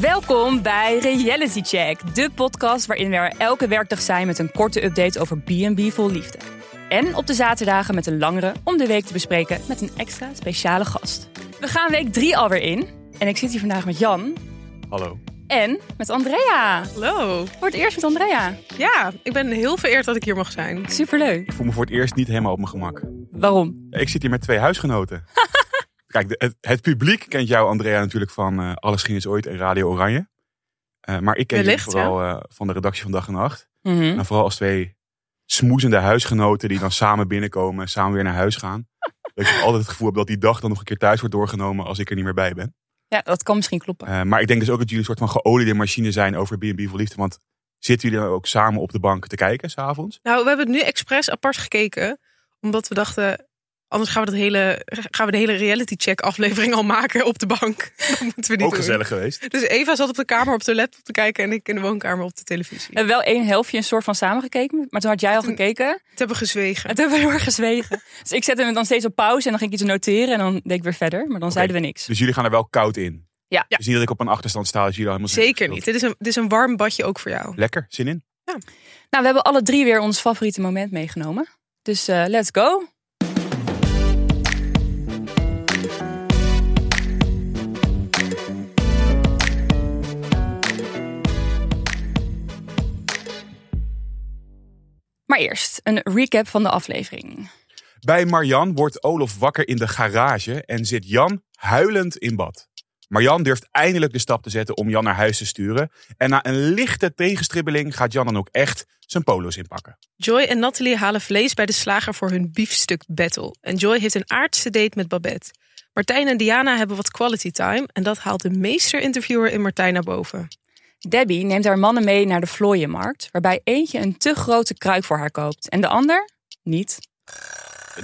Welkom bij Reality Check, de podcast waarin we er elke werkdag zijn met een korte update over B&B vol liefde. En op de zaterdagen met een langere om de week te bespreken met een extra speciale gast. We gaan week 3 alweer in en ik zit hier vandaag met Jan Hallo. en met Andrea. Hallo. Voor het eerst met Andrea. Ja, ik ben heel vereerd dat ik hier mag zijn. Superleuk. Ik voel me voor het eerst niet helemaal op mijn gemak. Waarom? Ik zit hier met twee huisgenoten. Kijk, de- het, het publiek kent jou, Andrea, natuurlijk van eh, Alles ging eens ooit en Radio Oranje. Eh, maar ik ken je Wellicht, vooral eh, van de redactie van Dag en Nacht. Mhm. En vooral als twee smoezende huisgenoten die dan samen binnenkomen, samen weer naar huis gaan. Dat ik altijd het gevoel heb dat die dag dan nog een keer thuis wordt doorgenomen als ik er niet meer bij ben. Ja, dat kan misschien kloppen. Eh, maar ik denk dus ook dat jullie een soort van geoliede machine zijn over B&B voor liefde. Want zitten jullie dan ook samen op de bank te kijken, s'avonds? Nou, we hebben het nu expres apart gekeken. Omdat we dachten, anders gaan we, dat hele, gaan we de hele reality check aflevering al maken op de bank. Dat moeten we niet Ook doen. gezellig geweest. Dus Eva zat op de kamer op de laptop te kijken en ik in de woonkamer op de televisie. We hebben wel één helftje een soort van samengekeken, maar toen had jij al Toen- gekeken. Het hebben gezwegen. En toen hebben we heel erg gezwegen. Dus ik zette hem dan steeds op pauze en dan ging ik iets noteren en dan deed ik weer verder. Maar dan zeiden we niks. Dus jullie gaan er wel koud in. Ja. Dus niet dat ik op een achterstand sta, dat jullie al helemaal Zeker niet. Dit is, een, dit is een warm badje ook voor jou. Lekker, zin in. Nou, we hebben alle drie weer ons favoriete moment meegenomen. Dus eh, let's go. Maar eerst een recap van de aflevering. Bij Marjan wordt Olof wakker in de garage en zit Jan huilend in bad. Marjan durft eindelijk de stap te zetten om Jan naar huis te sturen. En na een lichte tegenstribbeling gaat Jan dan ook echt zijn polo's inpakken. Joy en Natalie halen vlees bij de slager voor hun biefstuk battle. En Joy heeft een aardse date met Babette. Martijn en Diana hebben wat quality time. En dat haalt de meester-interviewer in Martijn naar boven. Debbie neemt haar mannen mee naar de vlooienmarkt, waarbij eentje een te grote kruik voor haar koopt en de ander niet.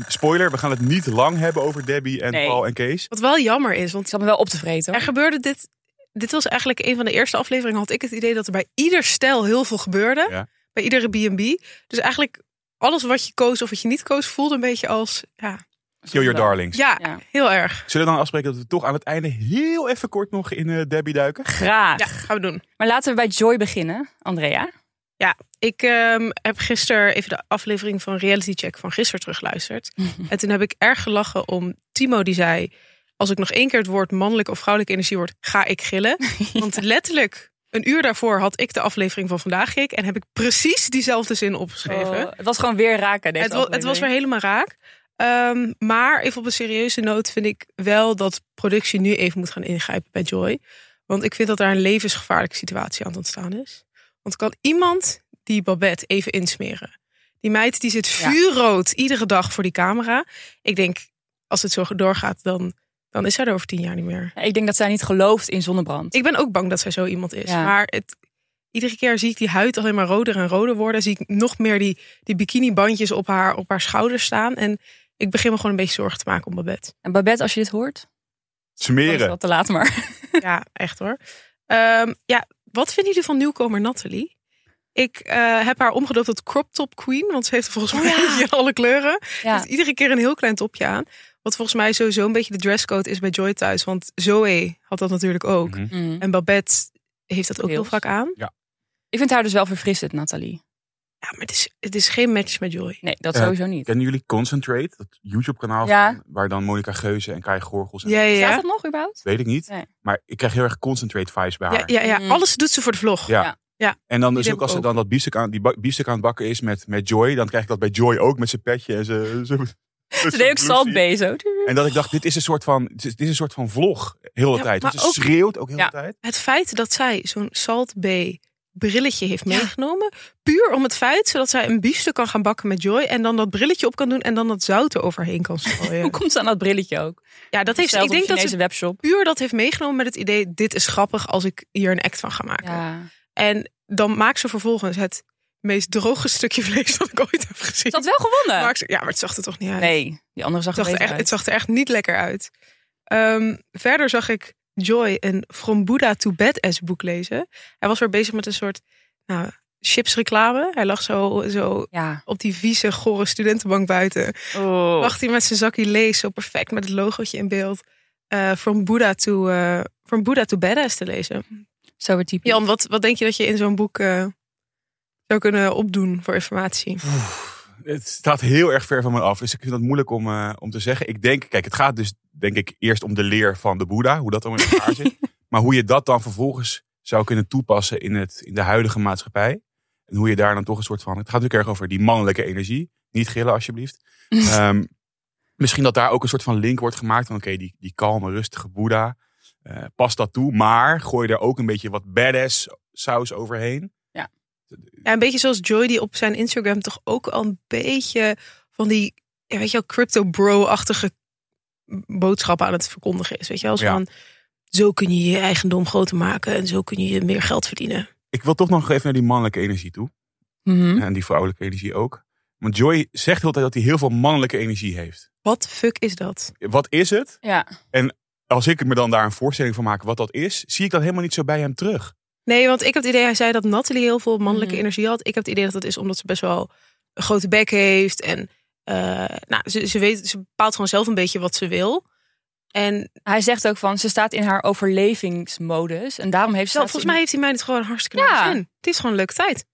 Spoiler, we gaan het niet lang hebben over Debbie en Nee. Paul en Kees. Wat wel jammer is, want Ik zat me wel op te vreten. er hoor. gebeurde dit... Dit was eigenlijk een van de eerste afleveringen. Had ik het idee dat er bij ieder stijl heel veel gebeurde. Ja. Bij iedere B&B. Dus eigenlijk alles wat je koos of wat je niet koos voelde een beetje als... Ja, Kill your darlings. ja, Ja. heel erg. Zullen we dan afspreken dat we toch aan het einde heel even kort nog in eh, Debbie duiken? Graag. Ja, gaan we doen. Maar laten we bij Joy beginnen, Andrea. Ik ehm, heb gisteren even de aflevering van Reality Check van gisteren teruggeluisterd. en toen heb ik erg gelachen om Timo die zei... als ik nog één keer het woord mannelijke of vrouwelijke energie hoort, ga ik gillen. Want letterlijk een uur daarvoor had ik de aflevering van vandaag gekeken... en heb ik precies diezelfde zin opgeschreven. Oh, het was gewoon weer raken. Deze het, wa- het was weer aflevering. helemaal raak. Ehm, maar even op een serieuze noot vind ik wel dat productie nu even moet gaan ingrijpen bij Joy. Want ik vind dat daar een levensgevaarlijke situatie aan het ontstaan is. Want kan iemand die Babette even insmeren? Die meid die zit Ja. vuurrood iedere dag voor die camera. Ik denk, als het zo doorgaat, dan, dan is zij er over tien jaar niet meer. Ik denk dat zij niet gelooft in zonnebrand. Ik ben ook bang dat zij zo iemand is. Ja. Maar het, iedere keer zie ik die huid alleen maar roder en roder worden. Zie ik nog meer die, die bikinibandjes op haar, op haar schouders staan. En ik begin me gewoon een beetje zorgen te maken om Babette. En Babette, als je dit hoort, dan is het Smeren. wel te laat maar. ja, echt hoor. Ehm, ja, wat vinden jullie van nieuwkomer Natalie? Ik eh, heb haar omgedoopt tot crop top queen. Want ze heeft er volgens mij in alle kleuren. Oh Ja. Heeft iedere keer een heel klein topje aan. Wat volgens mij sowieso een beetje de dresscode is bij Joy thuis. Want Zoe had dat natuurlijk ook. Mhm. Mm. En Babette heeft dat ook heel Deels. vaak aan. Ik vind haar dus wel verfrissend, Nathalie. Ja, maar het is, het is geen match met Joy. Nee, dat Ja. sowieso niet. Kennen jullie Concentrate, dat YouTube-kanaal Ja. van- waar dan Monica Geuze en Kai Gorgels en Ja, ja, Staat ja. dat nog überhaupt? Weet ik niet. Nee. Maar ik krijg heel erg concentrate vibes bij haar. ja, ja, ja. Mm. Alles doet ze voor de vlog. Ja. Ja. Ja. En dan Die dus heb ook ik als ze ook. dan dat biefstuk aan, die ba- biefstuk aan het bakken is met, met Joy. Dan krijg ik dat bij Joy ook met zijn petje en zijn... zijn- Ze zijn deed ook blousie. Salt Bay zo. En dat ik dacht, dit is een soort van, dit is een soort van vlog. Heel de Ja, tijd. Want maar ze ook- schreeuwt ook heel Ja. de tijd. Het feit dat zij zo'n Salt Bay brilletje heeft meegenomen. Puur om het feit zodat zij een biefstuk kan gaan bakken met Joy. En dan dat brilletje op kan doen en dan dat zout eroverheen kan Hoe strooien. komt ze aan dat brilletje ook? ja, dat heeft, ze- Zelfs ik denk op een dat Chinese ze webshop. puur dat heeft meegenomen met het idee... dit is grappig als ik hier een act van ga maken. Ja. En dan maakt ze vervolgens het meest droge stukje vlees dat ik ooit heb gezien. Ze had wel gewonnen. Maakt ze- ja, maar het zag er toch niet uit. Nee, die andere zag er Het zag er beter echt, uit. het zag er echt niet lekker uit. Ehm, verder zag ik Joy een From Buddha to Badass boek lezen. Hij was weer bezig met een soort nou, chipsreclame. Hij lag zo, zo Ja. op die vieze, gore studentenbank buiten. Oh. Wacht hij met zijn zakje lees, zo perfect met het logootje in beeld. eh From, Buddha to, eh From Buddha to Badass te lezen. Zo weer typisch. Jan, wat, wat denk je dat je in zo'n boek eh, zou kunnen opdoen voor informatie? Het staat heel erg ver van me af. Dus ik vind dat moeilijk om, eh, om te zeggen. Ik denk, kijk, het gaat dus denk ik eerst om de leer van de Boeddha. Hoe dat dan in elkaar zit. Maar hoe je dat dan vervolgens zou kunnen toepassen in, het, in de huidige maatschappij. En hoe je daar dan toch een soort van... Het gaat natuurlijk erg over die mannelijke energie. Niet gillen alsjeblieft. Ehm, misschien dat daar ook een soort van link wordt gemaakt. Van oké, die, die kalme, rustige Boeddha. eh past dat toe. Maar gooi er ook een beetje wat badass saus overheen. Ja, een beetje zoals Joy die op zijn Instagram toch ook al een beetje van die, ja, weet je wel, crypto bro-achtige boodschappen aan het verkondigen is. Weet je wel, zo Ja. van, zo kun je je eigendom groter maken en zo kun je meer geld verdienen. Ik wil toch nog even naar die mannelijke energie toe. Mhm. Hm? En die vrouwelijke energie ook. Want Joy zegt heel de tijd dat hij heel veel mannelijke energie heeft. Wat de fuck is dat? Wat is het? Ja. Als ik me dan daar een voorstelling van maak wat dat is, zie ik dat helemaal niet zo bij hem terug. Nee, want ik heb het idee, hij zei dat Natalie heel veel mannelijke Mhm. energie had. Ik heb het idee dat dat is omdat ze best wel een grote bek heeft. En eh, nou, ze, ze, weet, ze bepaalt gewoon zelf een beetje wat ze wil. En Hij zegt ook van, ze staat in haar overlevingsmodus. En daarom heeft ze... zo, volgens mij heeft die meid het gewoon hartstikke Ja. naar zin. Het is gewoon een leuke tijd.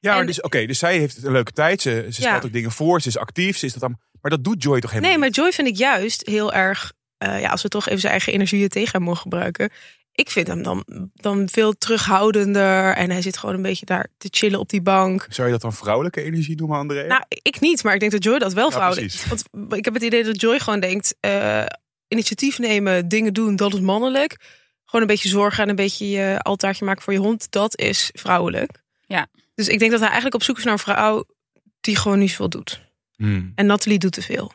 Ja, maar En- dus oké, dus zij heeft een leuke tijd. Ze, ze stelt Ja. ook dingen voor, ze is actief, ze is dat allemaal. Maar dat doet Joy toch helemaal Nee, maar niet? Joy vind ik juist heel erg. eh, ja, als we toch even zijn eigen energieën tegen hem mogen gebruiken. Ik vind hem dan, dan veel terughoudender. En hij zit gewoon een beetje daar te chillen op die bank. Zou je dat dan vrouwelijke energie noemen, André? Nou, ik niet, maar ik denk dat Joy dat wel Ja, fout precies. is. Want ik heb het idee dat Joy gewoon denkt: eh, initiatief nemen, dingen doen, dat is mannelijk. Gewoon een beetje zorgen en een beetje je altaartje maken voor je hond, dat is vrouwelijk. Ja. Dus ik denk dat hij eigenlijk op zoek is naar een vrouw die gewoon niet zoveel doet. Hmm. En Natalie doet te veel.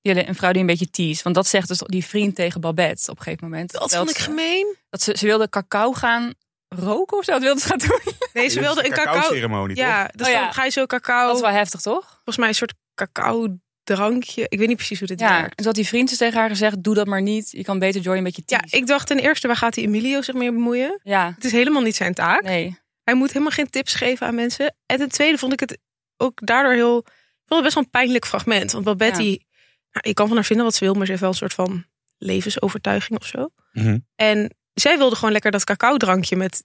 Jelle, een vrouw die een beetje tease. Want dat zegt dus die vriend tegen Babette op een gegeven moment. Dat Terwijl vond ik ze- gemeen. Dat ze, ze wilde cacao gaan roken of zo. Dat wilde ze gaan doen. Nee, ze Dat is wilde een cacao. cacao-ceremonie, toch? Ja, dus Oh ja. dan ga je zo cacao. Dat is wel heftig, toch? Volgens mij een soort cacao drankje. Ik weet niet precies hoe dit Ja. En werkt. toen had die vriend dus tegen haar gezegd, doe dat maar niet. Je kan beter Joy een beetje Ja, tease. ik dacht ten eerste, waar gaat die Emilio zich mee bemoeien? Ja, Het is helemaal niet zijn taak. nee. Hij moet helemaal geen tips geven aan mensen. En ten tweede vond ik het ook daardoor heel... Ik vond het best wel een pijnlijk fragment. Want Babette, Ja. die- nou, je kan van haar vinden wat ze wil... maar ze heeft wel een soort van levensovertuiging of zo. Mhm. En zij wilde gewoon lekker dat cacao-drankje met,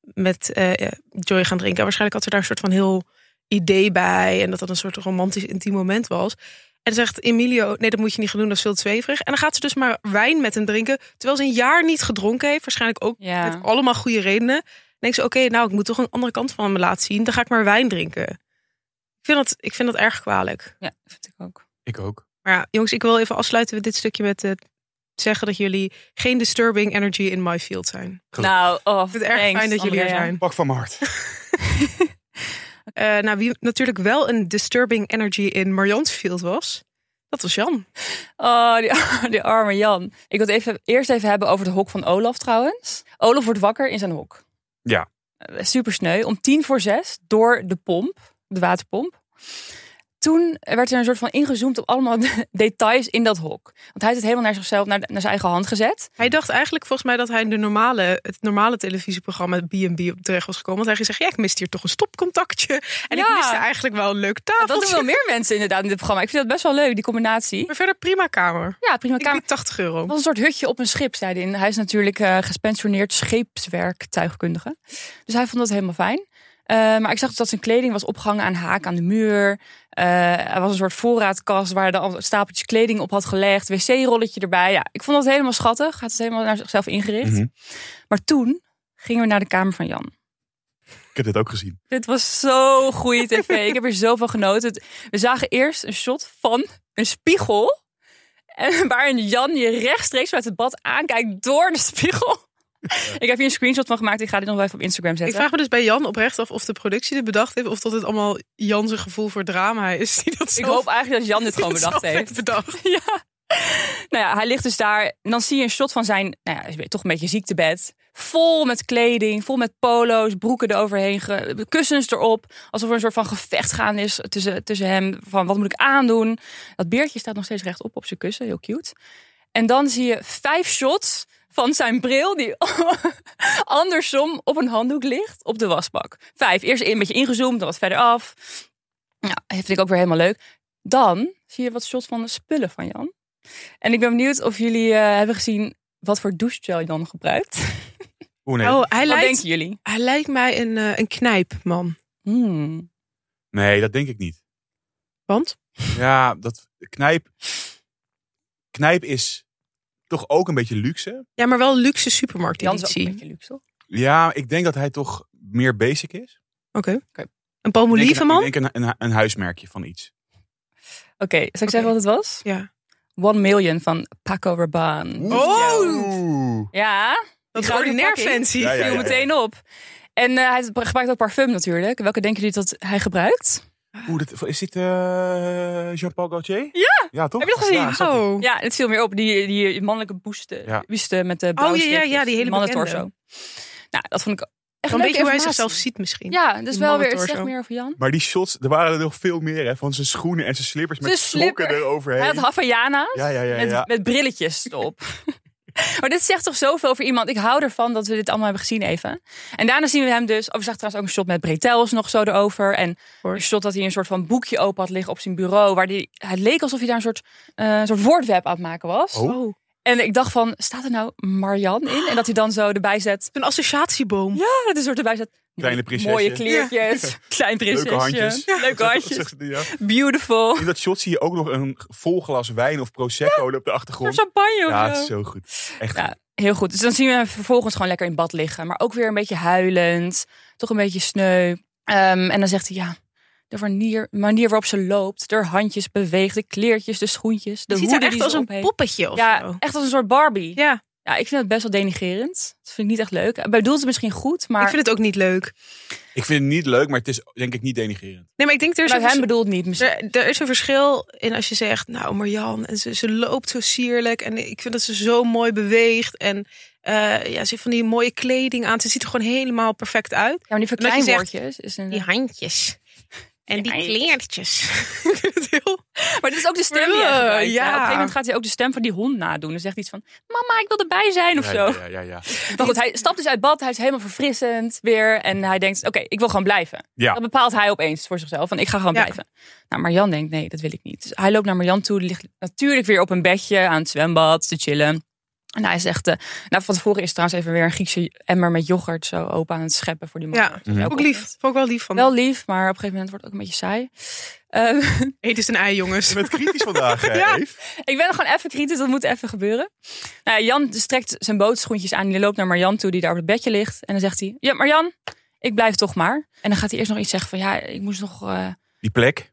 met eh, Joy gaan drinken. En waarschijnlijk had ze daar een soort van heel idee bij. En dat dat een soort romantisch intiem moment was. En zegt Emilio, nee, dat moet je niet gaan doen, dat is veel te zweverig. En dan gaat ze dus maar wijn met hem drinken. Terwijl ze een jaar niet gedronken heeft. Waarschijnlijk ook Ja. met allemaal goede redenen. Dan denkt ze, oké, nou, ik moet toch een andere kant van hem laten zien. Dan ga ik maar wijn drinken. Ik vind dat, ik vind dat erg kwalijk. Ja, vind ik ook. Ik ook. Maar ja, jongens, ik wil even afsluiten met dit stukje met het zeggen dat jullie geen disturbing energy in my field zijn. Gelukkig. Nou, oh, Ik vind het erg thanks, fijn dat jullie Andrea. er zijn. Pak van mijn hart. Eh, nou, wie natuurlijk wel een disturbing energy in Marjans field was, dat was Jan. Oh, die, die arme Jan. Ik wil het even, eerst even hebben over het hok van Olaf trouwens. Olaf wordt wakker in zijn hok. Ja. Super sneu. Om tien voor zes door de pomp, de waterpomp. Toen werd er een soort van ingezoomd op allemaal details in dat hok. Want hij heeft het helemaal naar zichzelf, naar, naar zijn eigen hand gezet. Hij dacht eigenlijk volgens mij dat hij in de normale, het normale televisieprogramma B&B op terecht was gekomen. Want hij gezegd, ja, ik miste hier toch een stopcontactje. En Ja. ik miste eigenlijk wel een leuk Dat doen tafeltje. wel meer mensen inderdaad in dit programma. Ik vind dat best wel leuk, die combinatie. Maar verder prima kamer. Ja, prima. Ik Kamer. bied 80 euro. Het was een soort hutje op een schip, zei hij. En Hij is natuurlijk eh, gepensioneerd scheepswerktuigkundige. Dus hij vond dat helemaal fijn. Eh, maar ik zag dus dat zijn kleding was opgehangen aan haak aan de muur. Eh, er was een soort voorraadkast waar hij dan al stapeltjes kleding op had gelegd. Wc-rolletje erbij. Ja, ik vond dat helemaal schattig. Hij had het helemaal naar zichzelf ingericht. Mhm. Maar toen gingen we naar de kamer van Jan. Ik heb dit ook gezien. Dit was zo goede tv. Ik heb er zoveel genoten. Het- We zagen eerst een shot van een spiegel. En waarin Jan je rechtstreeks uit het bad aankijkt door de spiegel. Ik heb hier een screenshot van gemaakt. Ik ga dit nog wel even op Instagram Ik zetten. vraag me dus bij Jan oprecht af of de productie dit bedacht heeft... of dat het allemaal Jan zijn gevoel voor drama is. Die dat Ik zelf, hoop eigenlijk dat Jan dit gewoon die dat bedacht zelf heeft. bedacht. Ja. Nou ja, hij ligt dus daar. En dan zie je een shot van zijn, nou ja, is weer toch een beetje ziektebed. Vol met kleding, vol met polo's, broeken eroverheen, ge- kussens erop. Alsof er een soort van gevecht gaande is tussen, tussen hem. Van wat moet ik aandoen? Dat beertje staat nog steeds rechtop op zijn kussen, heel cute. En dan zie je vijf shots van zijn bril die andersom op een handdoek ligt op de wasbak. Vijf, eerst een beetje ingezoomd, dan wat verder af. Nou, dat vind ik ook weer helemaal leuk. Dan zie je wat shots van de spullen van Jan. En ik ben benieuwd of jullie eh, hebben gezien wat voor douchegel Jan gebruikt. Oeh, nee. Oh, hij wat lijkt, denken jullie? hij lijkt mij een, eh, een knijpman. Hmm. Nee, dat denk ik niet. Want? Ja, dat knijp. Knijp is toch ook een beetje luxe. Ja, maar wel luxe Jan is ook een supermarkteditie. Oké. beetje luxe, toch? Ja, ik denk dat hij toch meer basic is. Oké. Een Ik denk pomolievenman? een- Ik denk een, een, een huismerkje van iets. Oké, zal ik zeggen wat het was? Ja. One Million van Paco Rabanne. Oh! Oeh. Ja, Dat is gouden ordinair pakking. fancy. Ja, ja. viel meteen op. En eh, hij gebruikt ook parfum natuurlijk. Welke denken jullie dat hij gebruikt? Oeh, dat, is dit eh, Jean-Paul Gaultier? Ja. Ja, toch? Heb je dat gezien? Ja, zag ik. Oh. Ja, het viel meer op. Die, die mannelijke buste, Ja. buste met de ja, Oh, blauwe ja, streepjes. ja, die hele mannentorso. bekende. Nou, dat vond ik echt leuke Een beetje hoe hij informatie. zichzelf ziet misschien. Ja, dus wel Die weer, het mannentorso. zegt meer over Jan. Maar die shots, er waren er nog veel meer hè, van zijn schoenen en zijn slippers met Zijn slipper. slokken eroverheen. Hij had Havaiana's ja, ja, ja, ja. met, met brilletjes erop. maar dit zegt toch zoveel over iemand. Ik hou ervan dat we dit allemaal hebben gezien even. En daarna zien we hem dus... Oh, we zagen trouwens ook een shot met Bretels nog zo erover. En Hoor. Een shot dat hij een soort van boekje open had liggen op zijn bureau. Waar die, het leek alsof hij daar een soort, eh, een soort woordweb aan het maken was. Oh. Oh. En ik dacht van, staat er nou Marian in? En dat hij dan zo erbij zet. Een associatieboom. Ja, dat is er erbij zet. Kleine prinsesje. Mooie kleertjes. Klein prinsesje. Leuke handjes. Leuke Wat handjes. zegt hij, ja. Beautiful. In dat shot zie je ook nog een vol glas wijn of prosecco op de Voor achtergrond. champagne of ja, zo. het is zo goed. Echt Ja, heel goed. Dus dan zien we hem vervolgens gewoon lekker in bad liggen. Maar ook weer een beetje huilend. Toch een beetje sneu. Ehm, en dan zegt hij, ja, de manier, manier waarop ze loopt. De handjes beweegt, de kleertjes, de schoentjes. De Het ziet hoeden er echt die als ze een op heeft. poppetje of Ja, zo. echt als een soort Barbie. Ja. Ja, ik vind het best wel denigerend. Dat vind ik niet echt leuk. Hij bedoelt het misschien goed, maar ik vind het ook niet leuk. Ik vind het niet leuk, maar het is denk ik niet denigerend. Nee, maar ik denk er is, vanuit hem een, vers- Nou, bedoelt het niet misschien. er, er is een verschil in als je zegt, nou Marjan, en ze, ze loopt zo sierlijk en ik vind dat ze zo mooi beweegt en eh, ja, ze heeft van die mooie kleding aan. Ze ziet er gewoon helemaal perfect uit. Ja, maar die dat je verkleinwoordjes. Is een, Die handjes. En die Ja, ja. kleertjes. Ik vind het heel- Maar dit is ook de stem die hij Ugh, gebruikt, hè. ja. Op een gegeven moment gaat hij ook de stem van die hond nadoen. En zegt iets van, mama, ik wil erbij zijn of Ja, zo. Ja, ja, ja. Maar goed, hij stapt dus uit bad. Hij is helemaal verfrissend weer. En hij denkt, oké, ik wil gewoon blijven. Ja. Dat bepaalt hij opeens voor zichzelf. Van, ik ga gewoon Ja. blijven. Nou, Marjan denkt, nee, dat wil ik niet. Dus hij loopt naar Marjan toe. Die ligt natuurlijk weer op een bedje aan het zwembad te chillen. En hij zegt, eh nou, van tevoren is trouwens even weer een Griekse emmer met yoghurt zo open aan het scheppen voor die man. Ja. Dus Mhm. elke Ook lief. ochtend. Vond ik wel lief van. Wel lief, maar op een gegeven moment wordt het ook een beetje saai. Ehm, Eet eens een ei, jongens. Je bent kritisch vandaag, eh, Ja. Eve. Ik ben gewoon even kritisch, dat moet even gebeuren. Nou, ja, Jan strekt zijn bootschoentjes aan en die loopt naar Marjan toe, die daar op het bedje ligt. En dan zegt hij, ja Marjan, ik blijf toch maar. En dan gaat hij eerst nog iets zeggen van, ja, ik moest nog eh, Die plek. Hij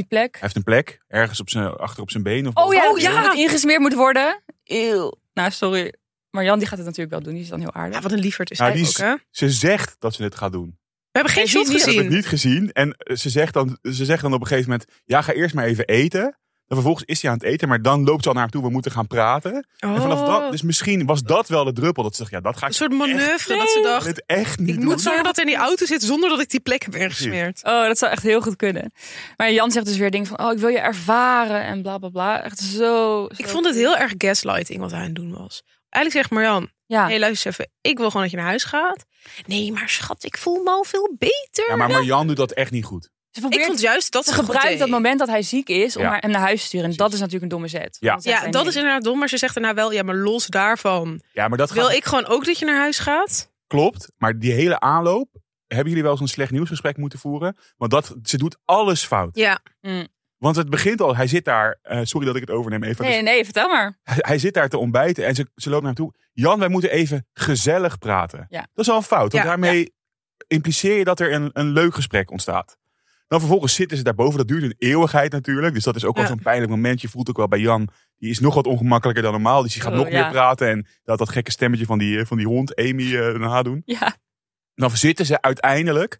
die plek. heeft een plek. Ergens op zijn, achter op zijn been. Of Oh ja, Oh, ja. dat het ingesmeerd moet worden. Eeuw. Nou, sorry. Marjan die gaat het natuurlijk wel doen, die is dan heel aardig. Ja, wat een lieverd is Nou, hij die ook, is- hè? We Ze zegt dat ze het gaat doen. hebben geen Hij ziet shot niet- Ik heb het gezien. niet gezien. En eh, ze zegt, dan, ze zegt dan op een gegeven moment: Ja, ga eerst maar even eten. Dan vervolgens is hij aan het eten, maar dan loopt ze al naar hem toe. We moeten gaan praten. En vanaf dat, dus misschien was dat wel de druppel. Dat ze zegt: Ja, dat ga Oh. Een ik soort manoeuvre dat ze Nee. dacht, dit echt niet ik doen. moet zorgen dat hij in die auto zit zonder dat ik die plek heb ingesmeerd. Oh, dat zou echt heel goed kunnen. Maar Jan zegt dus weer dingen van, oh, ik wil je ervaren en bla bla bla. Echt zo... Ik zo- vond het heel erg gaslighting wat hij aan het doen was. Eigenlijk zegt Marjan, Ja. hey, luister eens even, ik wil gewoon dat je naar huis gaat. Nee, maar schat, ik voel me al veel beter. Ja, maar Marjan doet dat echt niet goed. Ze Ik probeert- vond juist dat ze ze goed gebruikt deed. dat moment dat hij ziek is om Ja. haar, hem naar huis te sturen. En dat Precies. is natuurlijk een domme zet. Ja. Want zegt Ja, hij dat nee. is inderdaad dom, maar ze zegt daarna wel, ja, maar los daarvan. Ja, maar dat Wil gaat- ik gewoon ook dat je naar huis gaat? klopt. Maar die hele aanloop. Hebben jullie wel eens een slecht nieuwsgesprek moeten voeren? Want dat, ze doet alles fout. Ja, Want het begint al. Hij zit daar. eh, sorry dat ik het overneem even. Nee, nee, vertel maar. Hij, hij zit daar te ontbijten en ze, ze loopt naar hem toe. Jan, wij moeten even gezellig praten. Ja. Dat is al een fout, want Ja, daarmee impliceer je dat er een, een leuk gesprek ontstaat. Dan vervolgens zitten ze daarboven. Dat duurt een eeuwigheid natuurlijk. Dus dat is ook wel Ja. zo'n pijnlijk moment. Je voelt ook wel bij Jan, die is nog wat ongemakkelijker dan normaal. Dus die gaat Oh, nog ja. meer praten. En dat dat gekke stemmetje van die, eh, van die hond, Amy, eh na doen. Ja. Dan zitten ze uiteindelijk.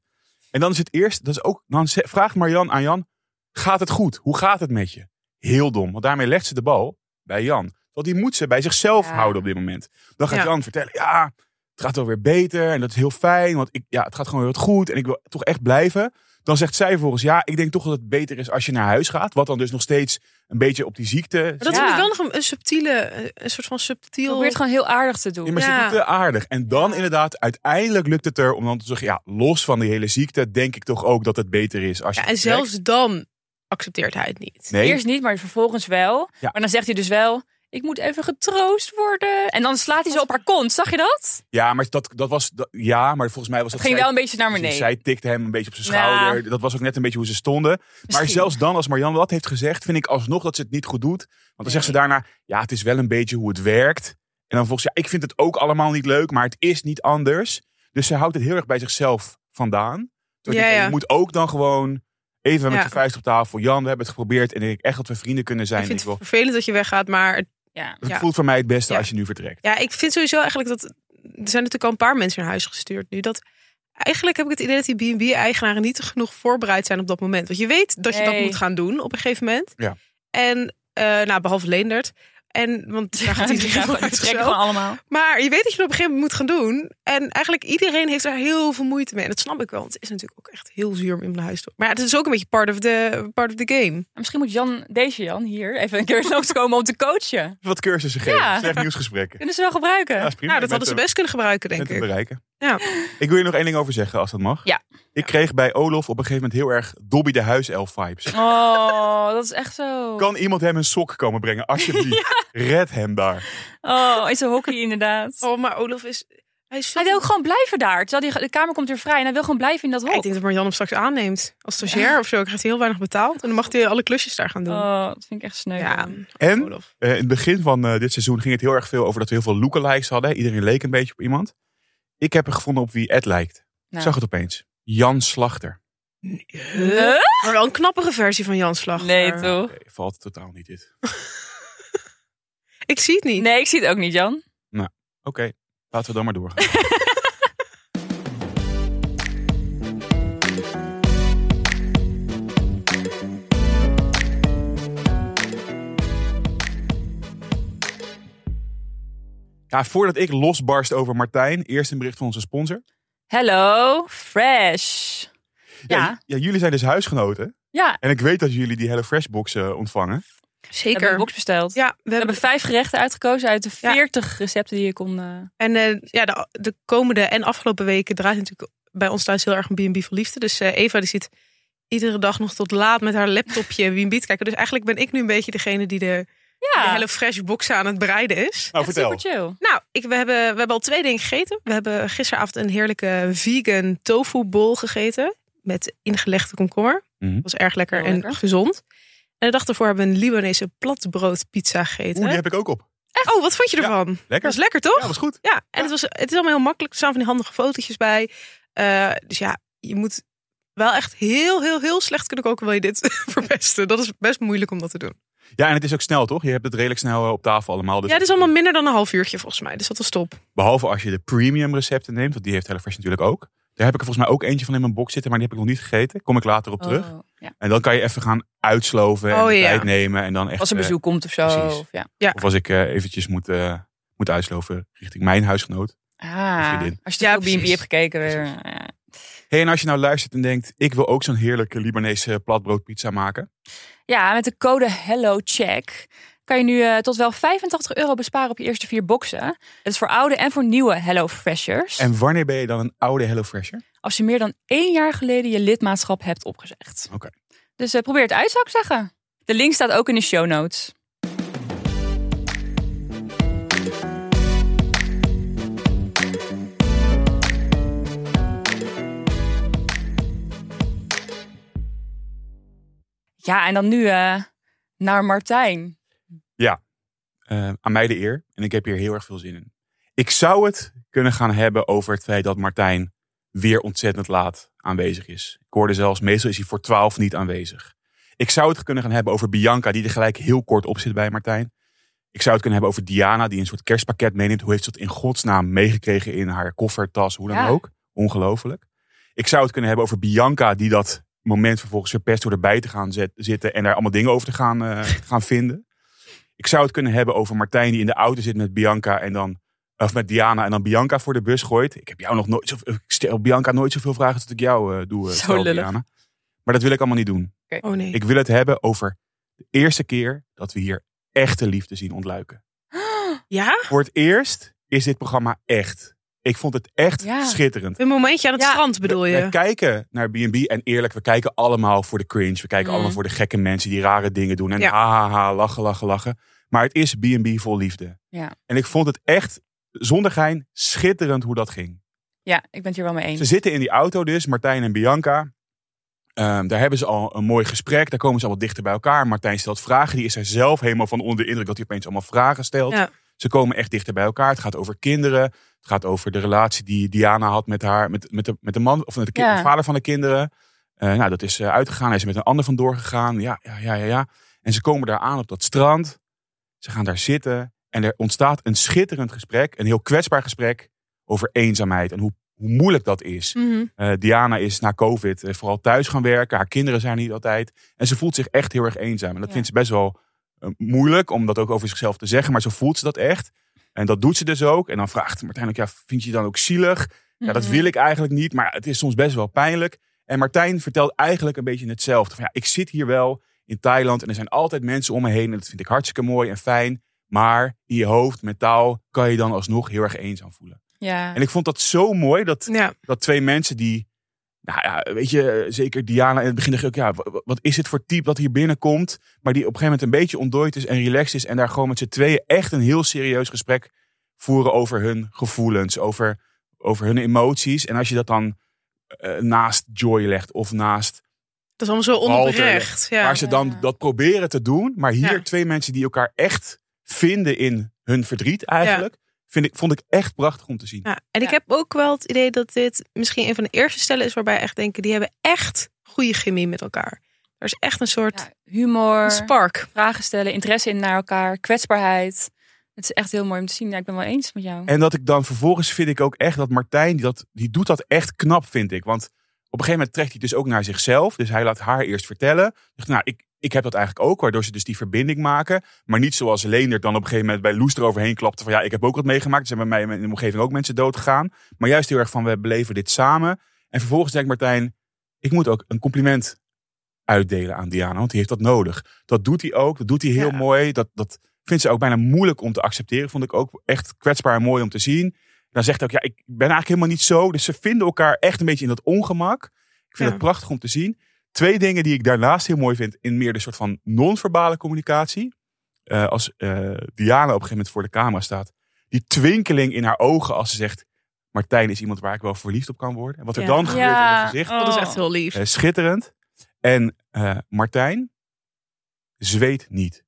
En dan is het eerst, dat is ook, dan ze- vraagt Marjan aan Jan: gaat het goed? Hoe gaat het met je? Heel dom, want daarmee legt ze de bal bij Jan. Want die moet ze bij zichzelf Ja. houden op dit moment. Dan gaat Ja. Jan vertellen: ja, het gaat wel weer beter en dat is heel fijn, want ik, ja, het gaat gewoon weer wat goed en ik wil toch echt blijven. Dan zegt zij vervolgens: ja, ik denk toch dat het beter is als je naar huis gaat. Wat dan dus nog steeds een beetje op die ziekte. Maar dat Ja. vond ik wel nog een, een subtiele, eh, een soort van subtiel... Probeer het gewoon heel aardig te doen. Ja, maar ze Ja. doet het aardig. En dan Ja. inderdaad, uiteindelijk lukt het er om dan te zeggen, ja, los van die hele ziekte, denk ik toch ook dat het beter is als je. Ja, en het zelfs dan accepteert hij het niet. trekt. Nee, Eerst niet, maar vervolgens wel. Ja. Maar dan zegt hij dus wel, ik moet even getroost worden. En dan slaat hij zo op haar kont. Zag je dat? ja, maar dat, dat was, dat- ja, maar volgens mij was dat. Het ging zij- wel een beetje naar precies, beneden. Dus Zij tikte hem een beetje op zijn Ja. schouder. Dat was ook net een beetje hoe ze stonden. Maar Misschien. zelfs dan, als Marianne dat heeft gezegd, vind ik alsnog dat ze het niet goed doet. Want dan zegt ze daarna, ja, het is wel een beetje hoe het werkt. En dan volgens ja, ik vind het ook allemaal niet leuk, maar het is niet anders. Dus ze houdt het heel erg bij zichzelf vandaan. Dus Ja, ja. Je moet ook dan gewoon even met Ja. je vuist op tafel. Jan, we hebben het geprobeerd en ik denk echt dat we vrienden kunnen zijn. ik vind Ik wil- het vervelend dat je weggaat, maar het- Ja. het ja. voelt voor mij het beste Ja. als je nu vertrekt. ja, ik vind sowieso eigenlijk dat... Er zijn natuurlijk al een paar mensen naar huis gestuurd nu. Dat, eigenlijk heb ik het idee dat die B&B-eigenaren niet genoeg voorbereid zijn op dat moment. Want je weet dat je dat Nee. moet gaan doen op een gegeven moment. Ja. En, eh, nou, behalve Leendert. En, want daar gaat Die iedereen gaan van gewoon- uit die trekken zichzelf. gewoon allemaal. Maar je weet dat je het op een gegeven moment moet gaan doen. En eigenlijk iedereen heeft daar heel veel moeite mee. En dat snap ik wel. Want het is natuurlijk ook echt heel zuur om in mijn huis te doen. Maar ja, het is ook een beetje part of the, part of the game. Maar Misschien moet Jan, deze Jan hier, even een keer langskomen om te coachen. Wat cursussen geven, Ja. slecht nieuwsgesprekken. Kunnen ze wel gebruiken. Ja, is prima. nou, Ik ben dat hadden ze te- best kunnen gebruiken, ben denk te ik. bereiken. Ja. Ik wil je nog één ding over zeggen, als dat mag. Ja. Ik kreeg bij Olof op een gegeven moment heel erg Dobby de Huiself vibes. Oh, dat is echt zo. Kan iemand hem een sok komen brengen? Alsjeblieft. Red hem daar. Oh, is een hockey inderdaad. Oh, maar Olaf is... Hij is zo... Hij wil ook gewoon blijven daar. Terwijl die, de kamer komt weer vrij en hij wil gewoon blijven in dat Ja, ik hok. denk dat Marjan hem straks aanneemt. Als stagiair of zo. Krijgt hij heel weinig betaald. En dan mag hij alle klusjes daar gaan doen. Oh, dat vind ik echt sneu. ja. En Olaf. eh, in het begin van eh, dit seizoen ging het heel erg veel over dat we heel veel lookalikes hadden. Iedereen leek een beetje op iemand. Ik heb er gevonden op wie Ed lijkt. Ik Nou. zag het opeens. Jan Slachter. Huh? Maar wel een knappere versie van Jan Slag. Nee, toch? Nee, valt totaal niet dit. Ik zie het niet. Nee, ik zie het ook niet, Jan. Oké, laten we dan maar doorgaan. Ja, voordat ik losbarst over Martijn, eerst een bericht van onze sponsor. Hello, fresh. Ja, ja jullie zijn dus huisgenoten. ja. En ik weet dat jullie die HelloFresh-boxen ontvangen. Ik heb een Zeker. box besteld. Ja, we We hebben hebben vijf gerechten uitgekozen uit de Ja. 40 recepten die je kon. eh, En eh, ja, de, de komende en afgelopen weken draait natuurlijk bij ons thuis heel erg een B&B voor liefde. Dus eh, Eva die zit iedere dag nog tot laat met haar laptopje B&B te kijken. Dus eigenlijk ben ik nu een beetje degene die de, Ja, de Hello Fresh boxen aan het bereiden is. Nou, echt vertel. super chill. Nou, ik, we, hebben, we hebben al twee dingen gegeten. We hebben gisteravond een heerlijke vegan tofu bol gegeten. Met ingelegde komkommer. Mhm. was erg lekker Heel en lekker. gezond. En de dag daarvoor hebben we een Libanese platbroodpizza gegeten. Oeh, die heb ik ook op. Oh, wat vond je Ja, ervan? Lekker. Dat is lekker toch? Ja, was goed. Ja, en Het, was, het is allemaal heel makkelijk. Er staan van die handige fotootjes bij. Eh, dus ja, je moet wel echt heel, heel, heel slecht kunnen koken wil je dit verpesten. Dat is best moeilijk om dat te doen. Ja, en het is ook snel, toch? Je hebt het redelijk snel eh, op tafel allemaal. Dus Ja, het is allemaal minder dan een half uurtje volgens mij. Dus dat is top. Behalve als je de premium recepten neemt, want die heeft HelloFresh natuurlijk ook. Daar heb ik er volgens mij ook eentje van in mijn box zitten, maar die heb ik nog niet gegeten. Kom ik later op terug. Oh, ja. En dan kan je even gaan uitsloven en Oh, de ja. tijd nemen. En dan echt, Als een eh, bezoek komt of zo. precies. Of ja. of als ik eh, eventjes moet, eh, moet uitsloven richting mijn huisgenoot. Ah, vriendin. als je Ja, naar B&B precies. hebt gekeken weer. Precies. ja. hey, en als je nou luistert en denkt, ik wil ook zo'n heerlijke Libanese platbroodpizza maken. Ja, met de code HelloCheck kan je nu eh, tot wel 85 euro besparen op je eerste vier boxen. Het is voor oude en voor nieuwe HelloFreshers. En wanneer ben je dan een oude HelloFresher? Als je meer dan één jaar geleden je lidmaatschap hebt opgezegd. Oké. Dus eh, probeer het uit, zou ik zeggen. De link staat ook in de show notes. Ja, en dan nu eh, naar Martijn. Eh, aan mij de eer. En ik heb hier heel erg veel zin in. Ik zou het kunnen gaan hebben over het feit dat Martijn weer ontzettend laat aanwezig is. Ik hoorde zelfs, meestal is hij voor twaalf niet aanwezig. Ik zou het kunnen gaan hebben over Bianca, die er gelijk heel kort op zit bij Martijn. Ik zou het kunnen hebben over Diana, die een soort kerstpakket meeneemt. Hoe heeft ze dat in godsnaam meegekregen in haar koffertas, hoe dan Ja. ook. Ongelooflijk. Ik zou het kunnen hebben over Bianca, die dat moment vervolgens verpest door erbij te gaan zet- zitten en daar allemaal dingen over te gaan, eh, gaan vinden. Ik zou het kunnen hebben over Martijn die in de auto zit met Bianca en dan. Of met Diana en dan Bianca voor de bus gooit. Ik heb jou nog nooit. zoveel- Ik stel Bianca nooit zoveel vragen als dat ik jou eh, doe. eh, Zo stel lullig. Diana. Maar dat wil ik allemaal niet doen. Oh nee. Ik wil het hebben over de eerste keer dat we hier echte liefde zien ontluiken. Ja? Voor het eerst is dit programma echt. Ik vond het echt Ja. schitterend. Een momentje aan het Ja. strand bedoel We- je? We kijken naar B&B en eerlijk, we kijken allemaal voor de cringe. We kijken Mm. allemaal voor de gekke mensen die rare dingen doen. En Ja. ha, ha, ha, lachen, lachen, lachen. Maar het is B&B vol liefde. Ja. En ik vond het echt, zonder gein, schitterend hoe dat ging. Ja, ik ben het hier wel mee eens. Ze zitten in die auto dus, Martijn en Bianca. Ehm, daar hebben ze al een mooi gesprek. Daar komen ze al wat dichter bij elkaar. Martijn stelt vragen. Die is er zelf helemaal van onder de indruk dat hij opeens allemaal vragen stelt. Ja. Ze komen echt dichter bij elkaar. Het gaat over kinderen. Het gaat over de relatie die Diana had met haar, met, met, de, met de man of met de, kind- Ja. de vader van de kinderen. Eh, nou, dat is eh, uitgegaan. Hij is er met een ander vandoor gegaan. Ja, ja, ja, ja, ja. En ze komen daar aan op dat strand. Ze gaan daar zitten. En er ontstaat een schitterend gesprek. Een heel kwetsbaar gesprek over eenzaamheid. En hoe, hoe moeilijk dat is. Mhm. Eh, Diana is na COVID eh, vooral thuis gaan werken. Haar kinderen zijn niet altijd. En ze voelt zich echt heel erg eenzaam. En dat Ja. vindt ze best wel eh, moeilijk om dat ook over zichzelf te zeggen. Maar zo voelt ze dat echt. En dat doet ze dus ook. En dan vraagt Martijn ook, ja, vind je je dan ook zielig? Ja, dat Mhm. wil ik eigenlijk niet, maar het is soms best wel pijnlijk. En Martijn vertelt eigenlijk een beetje hetzelfde. Van, ja, ik zit hier wel in Thailand en er zijn altijd mensen om me heen. En dat vind ik hartstikke mooi en fijn. Maar in je hoofd, mentaal, kan je dan alsnog heel erg eenzaam voelen. Ja. En ik vond dat zo mooi dat, Ja. dat twee mensen die, nou ja, weet je, zeker Diana in het begin dacht ik ook, ja, wa- wa- wat is het voor type dat hier binnenkomt, maar die op een gegeven moment een beetje ontdooid is en relaxed is en daar gewoon met z'n tweeën echt een heel serieus gesprek voeren over hun gevoelens, over, over hun emoties. En als je dat dan eh, naast Joy legt of naast Dat is allemaal zo Walter, onoprecht. Ja. waar ze dan Ja. dat proberen te doen, maar hier Ja. twee mensen die elkaar echt vinden in hun verdriet eigenlijk, vind ik, vond ik echt prachtig om te zien. Ja, en ik Ja. heb ook wel het idee dat dit misschien een van de eerste stellen is waarbij echt denken, die hebben echt goede chemie met elkaar. Er is echt een soort Ja, humor, spark. vragen stellen, interesse in naar elkaar, kwetsbaarheid. Het is echt heel mooi om te zien. Ja, ik ben wel eens met jou. En dat ik dan vervolgens vind ik ook echt dat Martijn, die, dat, die doet dat echt knap, vind ik. Want op een gegeven moment trekt hij dus ook naar zichzelf. Dus hij laat haar eerst vertellen. Zegt, nou, ik, ik heb dat eigenlijk ook, waardoor ze dus die verbinding maken. Maar niet zoals Leendert dan op een gegeven moment bij Loes eroverheen klapte. Van ja, ik heb ook wat meegemaakt. Er zijn bij mij in de omgeving ook mensen doodgegaan. Maar juist heel erg van, we beleven dit samen. En vervolgens denkt Martijn, ik moet ook een compliment uitdelen aan Diana. Want die heeft dat nodig. Dat doet hij ook. Dat doet hij heel Ja. mooi. Dat, dat vindt ze ook bijna moeilijk om te accepteren. Vond ik ook echt kwetsbaar en mooi om te zien. Dan zegt hij ook, ja, ik ben eigenlijk helemaal niet zo. Dus ze vinden elkaar echt een beetje in dat ongemak. Ik vind Ja. het prachtig om te zien. Twee dingen die ik daarnaast heel mooi vind in meer de soort van non-verbale communicatie. Eh, als eh, Diana op een gegeven moment voor de camera staat. Die twinkeling in haar ogen als ze zegt... Martijn is iemand waar ik wel verliefd op kan worden. En wat er Ja. dan gebeurt in Ja. het gezicht. Oh. Dat is echt heel lief. Eh, schitterend. En eh, Martijn zweet niet.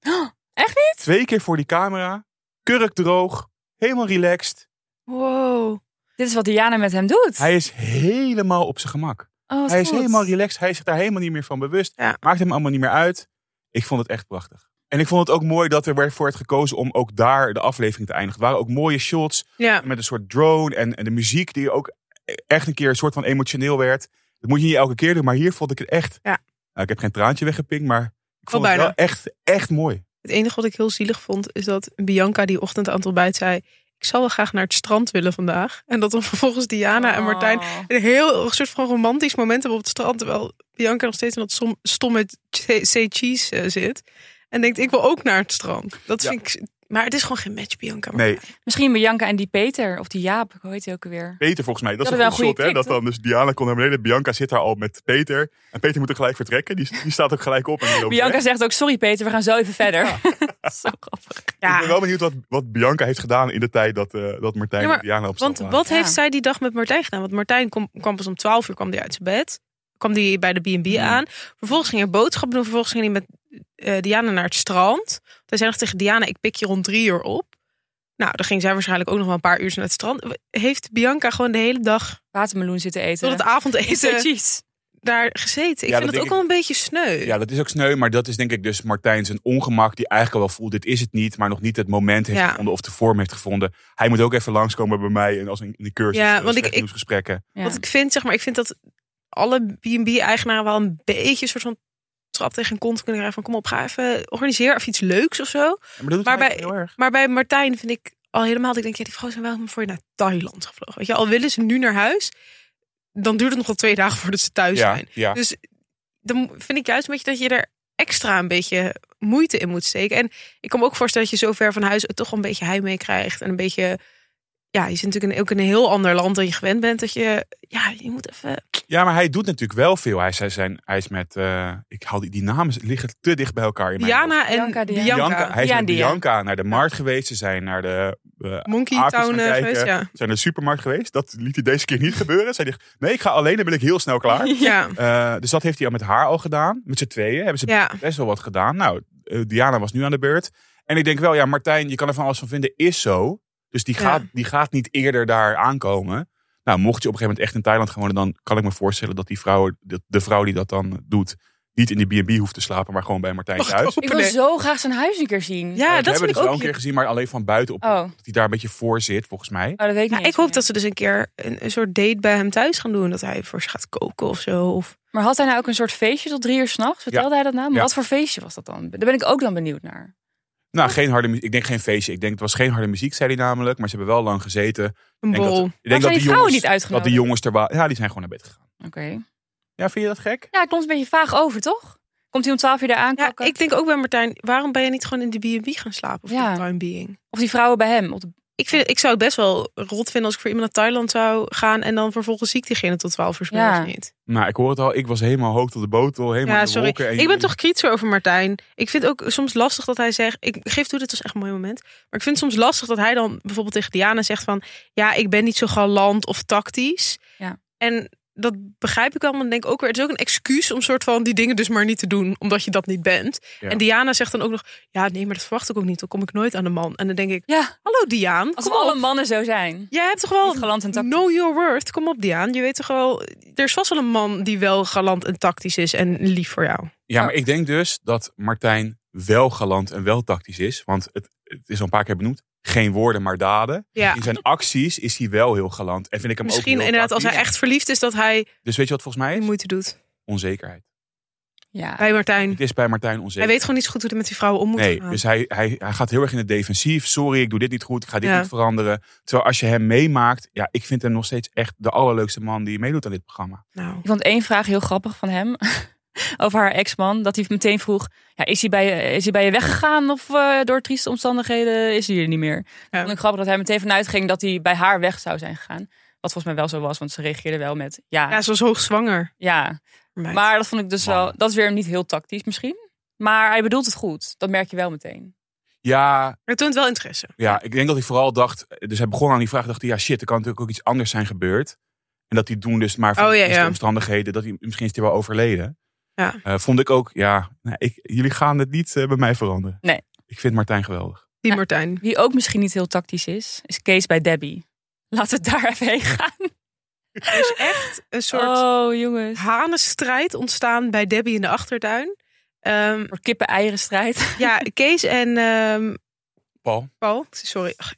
Oh, echt niet? Twee keer voor die camera. Kurk droog. Helemaal relaxed. Wow. Dit is wat Diana met hem doet. Hij is helemaal op zijn gemak. Oh, wat Hij is goed. helemaal relaxed. Hij is zich daar helemaal niet meer van bewust. Ja. Maakt hem allemaal niet meer uit. Ik vond het echt prachtig. En ik vond het ook mooi dat er werd voor het gekozen om ook daar de aflevering te eindigen. Het waren ook mooie shots Ja. met een soort drone en, en de muziek die ook echt een keer een soort van emotioneel werd. Dat moet je niet elke keer doen, maar hier vond ik het echt. Ja. Nou, ik heb geen traantje weggepinkt, maar ik vond het bijna. wel echt, echt mooi. Het enige wat ik heel zielig vond is dat Bianca die ochtend aan het ontbijt zei, ik zou wel graag naar het strand willen vandaag. En dat dan vervolgens Diana en Martijn Oh. een heel een soort van romantisch moment hebben op het strand. Terwijl Bianca nog steeds in dat som- stomme che- say cheese eh, zit. En denkt, ik wil ook naar het strand. Dat Ja. vind ik... Maar het is gewoon geen match, Bianca. Maar Nee, Misschien Bianca en die Peter of die Jaap, hoe heet hij ook alweer? Peter volgens mij, dat is Ja, een dat goed wel een shot. goede Hè? Dat klik, dan dus Diana kon naar beneden. Bianca zit daar al met Peter. En Peter moet er gelijk vertrekken. Die, die staat ook gelijk op. En die loopt Bianca weg. zegt ook, sorry Peter, we gaan zo even verder. Zo grappig. Ik ben wel benieuwd wat, wat Bianca heeft gedaan in de tijd dat, eh, dat Martijn Ja, maar- en Diana op Want stap wat Ja. heeft zij die dag met Martijn gedaan? Want Martijn kom- kwam pas om 12 uur kwam die uit zijn bed. Kwam die bij de B&B Hmm. aan. Vervolgens ging hij boodschappen doen. Vervolgens ging hij met eh, Diana naar het strand. Want Hij zei nog tegen Diana, ik pik je rond drie uur op. Nou, dan ging zij waarschijnlijk ook nog wel een paar uur naar het strand. Heeft Bianca gewoon de hele dag Watermeloen zitten eten. tot het eh, Say avondeten cheese. daar gezeten? Ik Ja, dat vind denk het ook ik- wel een beetje sneu. Ja, dat is ook sneu, maar dat is denk ik dus Martijn zijn ongemak die eigenlijk al wel voelt, dit is het niet, maar nog niet het moment heeft Ja. gevonden of de vorm heeft gevonden. Hij moet ook even langskomen bij mij en als een, in de cursus, Ja, eh, want ik- slecht ik- nieuwsgesprekken. Ja. Want ik vind, zeg maar, ik vind dat alle B&B-eigenaren wel een beetje een soort van trap tegen een kont kunnen krijgen van kom op, ga even organiseren of iets leuks of zo. Maar dat doet Maar hij bij- heel erg. Maar bij Martijn vind ik al helemaal dat ik denk, ja, die vrouwen zijn wel voor je naar Thailand gevlogen. Weet je, al willen ze nu naar huis, dan duurt het nog wel twee dagen voordat ze thuis Ja, zijn. ja. Dus dan vind ik juist een beetje dat je er extra een beetje moeite in moet steken. En ik kan me ook voorstellen dat je zo ver van huis het toch wel een beetje heimwee krijgt. En een beetje, ja, je zit natuurlijk in, ook in een heel ander land dan je gewend bent. Dat je, ja, je moet even... Ja, maar hij doet natuurlijk wel veel. Hij is, hij zijn, hij is met, eh, ik haal die, die namen liggen te dicht bij elkaar in mijn hoofd. Jana en Bianca, Bianca. die- Bianca, hij is Ja, met die, ja. Bianca naar de markt geweest. Ze zijn naar de eh, Monkey aapjes Town gaan eh, kijken. geweest, ja. zijn naar de supermarkt geweest. Dat liet hij deze keer niet gebeuren. Zij dacht, nee, ik ga alleen, dan ben ik heel snel klaar. Ja, Eh, dus dat heeft hij al met haar al gedaan. Met z'n tweeën hebben ze ja. best wel wat gedaan. Nou, eh, Diana was nu aan de beurt. En ik denk wel, ja, Martijn, je kan er van alles van vinden, is zo. Dus die Ja. gaat, die gaat niet eerder daar aankomen. Nou, mocht je op een gegeven moment echt in Thailand gaan wonen, dan kan ik me voorstellen dat die vrouw, de, de vrouw die dat dan doet, niet in die B&B hoeft te slapen, maar gewoon bij Martijn Mag ik thuis. ook? Ik wil Nee. zo graag zijn huis een keer zien. ja we dat Oh, hebben vind het ik wel ook een keer leuk. gezien, maar alleen van buiten op. Oh, Dat hij daar een beetje voor zit, volgens mij. oh dat weet ik Ja, niet. ik hoop dat ze dus een keer een, een soort date bij hem thuis gaan doen. Dat hij voor ze gaat koken of zo. Of... Maar had hij nou ook een soort feestje tot drie uur s'nachts? Vertelde hij dat nou? Maar Ja. wat voor feestje was dat dan? Daar ben ik ook dan benieuwd naar. Nou, geen harde muziek. Ik denk geen feestje. Ik denk het was geen harde muziek, zei hij namelijk. Maar ze hebben wel lang gezeten. Ik Een denk dat, ik bol. denk zijn dat, de die vrouwen jongens, niet dat de uitgenodigd? jongens er waren. Ja, die zijn gewoon naar bed gegaan. Oké. Ja, vind je dat gek? Ja, het komt een beetje vaag over, toch? Komt hij om twaalf uur daar Ja, aankakken? ik denk ook bij Martijn, waarom ben je niet gewoon in de B&B gaan slapen? Of Ja. de time being? Of die vrouwen bij hem? Op de- Ik, vind, ik zou het best wel rot vinden als ik voor iemand naar Thailand zou gaan... en dan vervolgens ziek diegene tot 12 uur 's Ja. middags niet. Nou, ik hoor het al. Ik was helemaal hoog tot de botel. Helemaal Ja, in de sorry. wolken. En Ik ben toch kritischer over Martijn. Ik vind ook soms lastig dat hij zegt... Ik geef toe, dit was echt een mooi moment. Maar ik vind het soms lastig dat hij dan bijvoorbeeld tegen Diana zegt van... Ja, ik ben niet zo galant of tactisch. Ja. En dat begrijp ik allemaal. En denk ook weer, het is ook een excuus om soort van die dingen dus maar niet te doen. Omdat je dat niet bent. Ja. En Diana zegt dan ook nog... Ja, nee, maar dat verwacht ik ook niet. Dan kom ik nooit aan de man. En dan denk ik, Ja, hallo Diane. als kom alle op. mannen zo zijn. Jij hebt toch Niet wel... galant en tactisch. Know your worth. Kom op, Diane. Je weet toch wel... Er is vast wel een man die wel galant en tactisch is en lief voor jou. Ja, maar ik denk dus dat Martijn wel galant en wel tactisch is. Want het, het is al een paar keer benoemd. Geen woorden, maar daden. Ja. In zijn acties is hij wel heel galant. En vind ik hem ook Misschien heel inderdaad als hij tactisch. echt verliefd is dat hij Dus weet je wat volgens mij die is? moeite doet. Onzekerheid. Ja. Bij Martijn. Het is bij Martijn Hij onzeker. weet gewoon niet zo goed hoe hij met die vrouwen om moet Nee, gaan. dus hij, hij, hij gaat heel erg in het defensief. Sorry, ik doe dit niet goed. Ik ga dit Ja. niet veranderen. Terwijl als je hem meemaakt, ja, ik vind hem nog steeds echt de allerleukste man die meedoet aan dit programma. Nou, Ik vond één vraag heel grappig van hem. Over haar ex-man. Dat hij meteen vroeg: ja, is, hij bij je, is hij bij je weggegaan? Of eh, door trieste omstandigheden is hij er niet meer? Dat Ja. vond ik grappig dat hij meteen vanuit ging dat hij bij haar weg zou zijn gegaan. Wat volgens mij wel zo was, want ze reageerde wel met ja. ja, Ja, ze was hoogzwanger. Maar, maar dat vond ik dus wel. Mannen. Dat is weer niet heel tactisch misschien. Maar hij bedoelt het goed. Dat merk je wel meteen. Ja, het toont wel interesse. Ja, ik denk dat hij vooral dacht. Dus hij begon aan die vraag. Dacht hij, ja, shit, er kan natuurlijk ook iets anders zijn gebeurd. En dat hij doen dus maar van Oh, ja, deze ja. omstandigheden. Dat hij misschien is hij wel overleden. Ja. Eh, vond ik ook, ja, nou, ik, jullie gaan het niet eh, bij mij veranderen. Nee. Ik vind Martijn geweldig. Die Ja. Martijn. Wie ook misschien niet heel tactisch is, is Kees bij Debbie. Laten we daar even heen gaan. Er is echt een soort Oh, jongens. hanenstrijd ontstaan bij Debbie in de achtertuin. Ehm, Voor kippen-eieren strijd. ja, Kees en ehm, Paul. Paul. Sorry. Ach,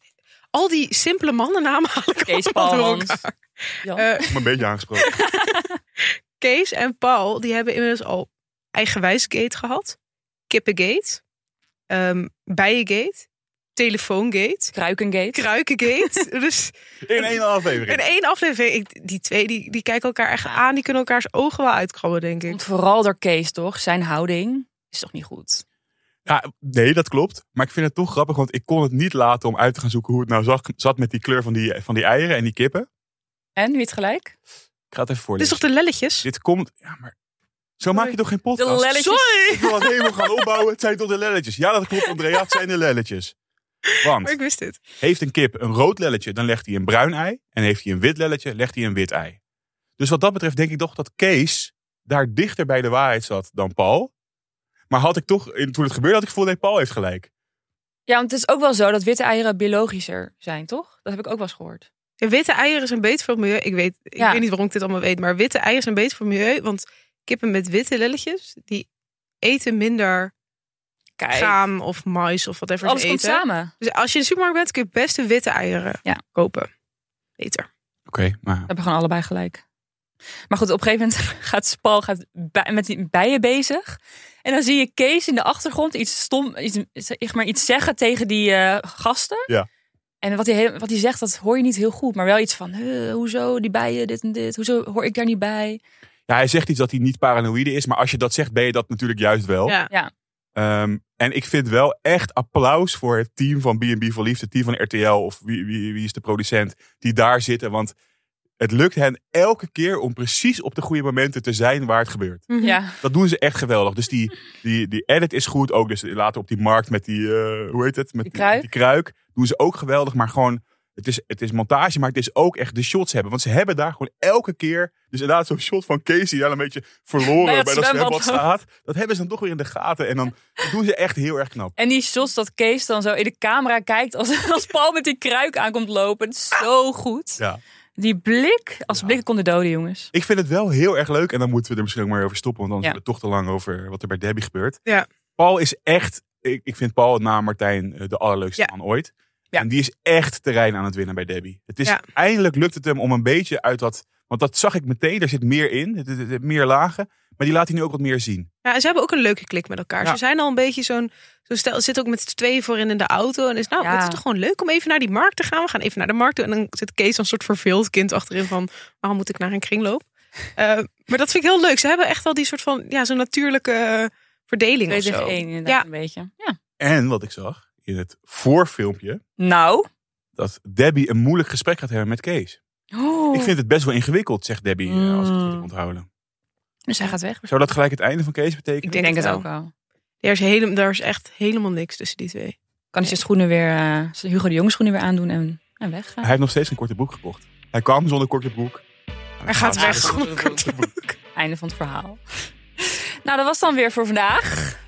Al die simpele mannennamen haal ik Kees, allemaal Paul, door Hans. elkaar. Jan. Eh, Ik ben een beetje aangesproken. Kees en Paul, die hebben inmiddels al eigenwijs gate gehad. Kippengate. ehm bijengate. Telefoongate. Kruikengate. Kruikengate. dus In één in aflevering. één aflevering, ik- die twee die, die kijken elkaar echt aan. Die kunnen elkaars ogen wel uitkrabben, denk ik. Komt vooral door Kees, toch? Zijn houding is toch niet goed? Ja, nee, dat klopt. Maar ik vind het toch grappig, want ik kon het niet laten om uit te gaan zoeken hoe het nou zag- zat met die kleur van die, van die eieren en die kippen. En wie het gelijk? Ik ga het even Dit is voorlezen. toch de lelletjes? Dit komt. Ja, maar. Zo maak je toch geen podcast? De lelletjes. Ik wil het helemaal gaan opbouwen. Het zijn toch de lelletjes? Ja, dat klopt, Andrea. Het zijn de lelletjes. Maar ik Want wist dit. heeft een kip een rood lelletje, dan legt hij een bruin ei. En heeft hij een wit lelletje, legt hij een wit ei. Dus wat dat betreft denk ik toch dat Kees daar dichter bij de waarheid zat dan Paul. Maar had ik toch, in- toen het gebeurde, had ik het gevoel, nee, Paul heeft gelijk. Ja, want het is ook wel zo dat witte eieren biologischer zijn, toch? Dat heb ik ook wel eens gehoord. Ja, witte eieren zijn beter voor het milieu. Ik weet, ik Ja. weet niet waarom ik dit allemaal weet, maar witte eieren zijn beter voor het milieu. Want kippen met witte lelletjes, die eten minder Kijk, graan of mais of whatever alles ze komt eten. samen. Dus als je in de supermarkt bent, kun je best de witte eieren Ja. kopen. Beter. Oké, maar We hebben gewoon allebei gelijk. Maar goed, op een gegeven moment gaat Spal gaat bij- met die bijen bezig. En dan zie je Kees in de achtergrond iets stom, iets, zeg maar iets zeggen tegen die eh, gasten. Ja. En wat hij, he- wat hij zegt, dat hoor je niet heel goed. Maar wel iets van, "Huh, hoezo die bijen, dit en dit. Hoezo hoor ik daar niet bij? Ja, hij zegt iets dat hij niet paranoïde is. Maar als je dat zegt, ben je dat natuurlijk juist wel. Ja. Ehm, en ik vind wel echt applaus voor het team van B&B voor Liefde, het team van RTL of wie, wie, wie is de producent die daar zitten. Want het lukt hen elke keer om precies op de goede momenten te zijn waar het gebeurt. Mhm. Ja. Dat doen ze echt geweldig. Dus die, die, die edit is goed ook. Dus later op die markt met die, eh, hoe heet het? Met Die kruik. die kruik. Doen ze ook geweldig. Maar gewoon, het is, het is montage, maar het is ook echt de shots hebben. Want ze hebben daar gewoon elke keer. Dus inderdaad, zo'n shot van Casey die daar een beetje verloren Bij dat bij, dat zwembad zwembad. staat. Dat hebben ze dan toch weer in de gaten. En dan dat doen ze echt heel erg knap. En die shots dat Kees dan zo in de camera kijkt als, als Paul met die kruik aankomt lopen. Het is zo goed. Ja. Die blik, als Ja. blikken konden doden, jongens. Ik vind het wel heel erg leuk. En dan moeten we er misschien ook maar over stoppen. Want anders Ja. hebben we het toch te lang over wat er bij Debbie gebeurt. Ja. Paul is echt... Ik, ik vind Paul na Martijn eh, de allerleukste Ja. man ooit. Ja. En die is echt terrein aan het winnen bij Debbie. Het is, Ja. Eindelijk lukt het hem om een beetje uit dat... Want dat zag ik meteen. Er zit meer in. Het, het- het- het- meer lagen. Maar die laat hij nu ook wat meer zien. Ja, en ze hebben ook een leuke klik met elkaar. Ja. Ze zijn al een beetje zo'n. Zo stel, zit ook met z'n tweeën voorin in de auto. En is nou, Ja. het is toch gewoon leuk om even naar die markt te gaan. We gaan even naar de markt toe. En dan zit Kees als soort verveeld kind achterin van... waarom moet ik naar een kringloop? Eh, maar dat vind ik heel leuk. Ze hebben echt al die soort van... ja, zo'n natuurlijke eh, verdeling Twee of tegen zo. één inderdaad Ja. een beetje. Ja. En wat ik zag in het voorfilmpje... Nou. Dat Debbie een moeilijk gesprek gaat hebben met Kees. Oh. Ik vind het best wel ingewikkeld, zegt Debbie. eh, Als ik het goed Mm. heb onthouden. Dus hij gaat weg. Zou dat gelijk het einde van Kees betekenen? Ik Ik denk, denk het, het ook. ook wel. Er is, hele, daar is echt helemaal niks tussen die twee. Kan hij zijn schoenen weer, eh, zijn Hugo de Jong schoenen weer aandoen en, en weggaan. Hij heeft nog steeds een korte broek gekocht. Hij kwam zonder korte broek. Nou, Hij gaat weg zonder zonder korte Einde van het verhaal. nou, dat was dan weer voor vandaag.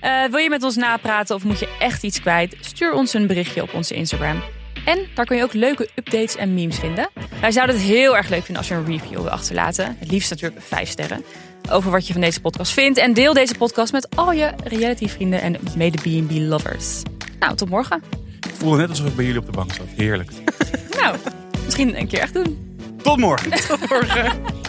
Eh, wil je met ons napraten of moet je echt iets kwijt? Stuur ons een berichtje op onze Instagram. En daar kun je ook leuke updates en memes vinden. Wij zouden het heel erg leuk vinden als je een review wil achterlaten. Het liefst natuurlijk vijf sterren. Over wat je van deze podcast vindt. En deel deze podcast met al je reality-vrienden en mede B&B lovers. Nou, tot morgen. Ik voelde net alsof ik bij jullie op de bank zat. Heerlijk. Nou, misschien een keer echt doen. Tot morgen. Morgen.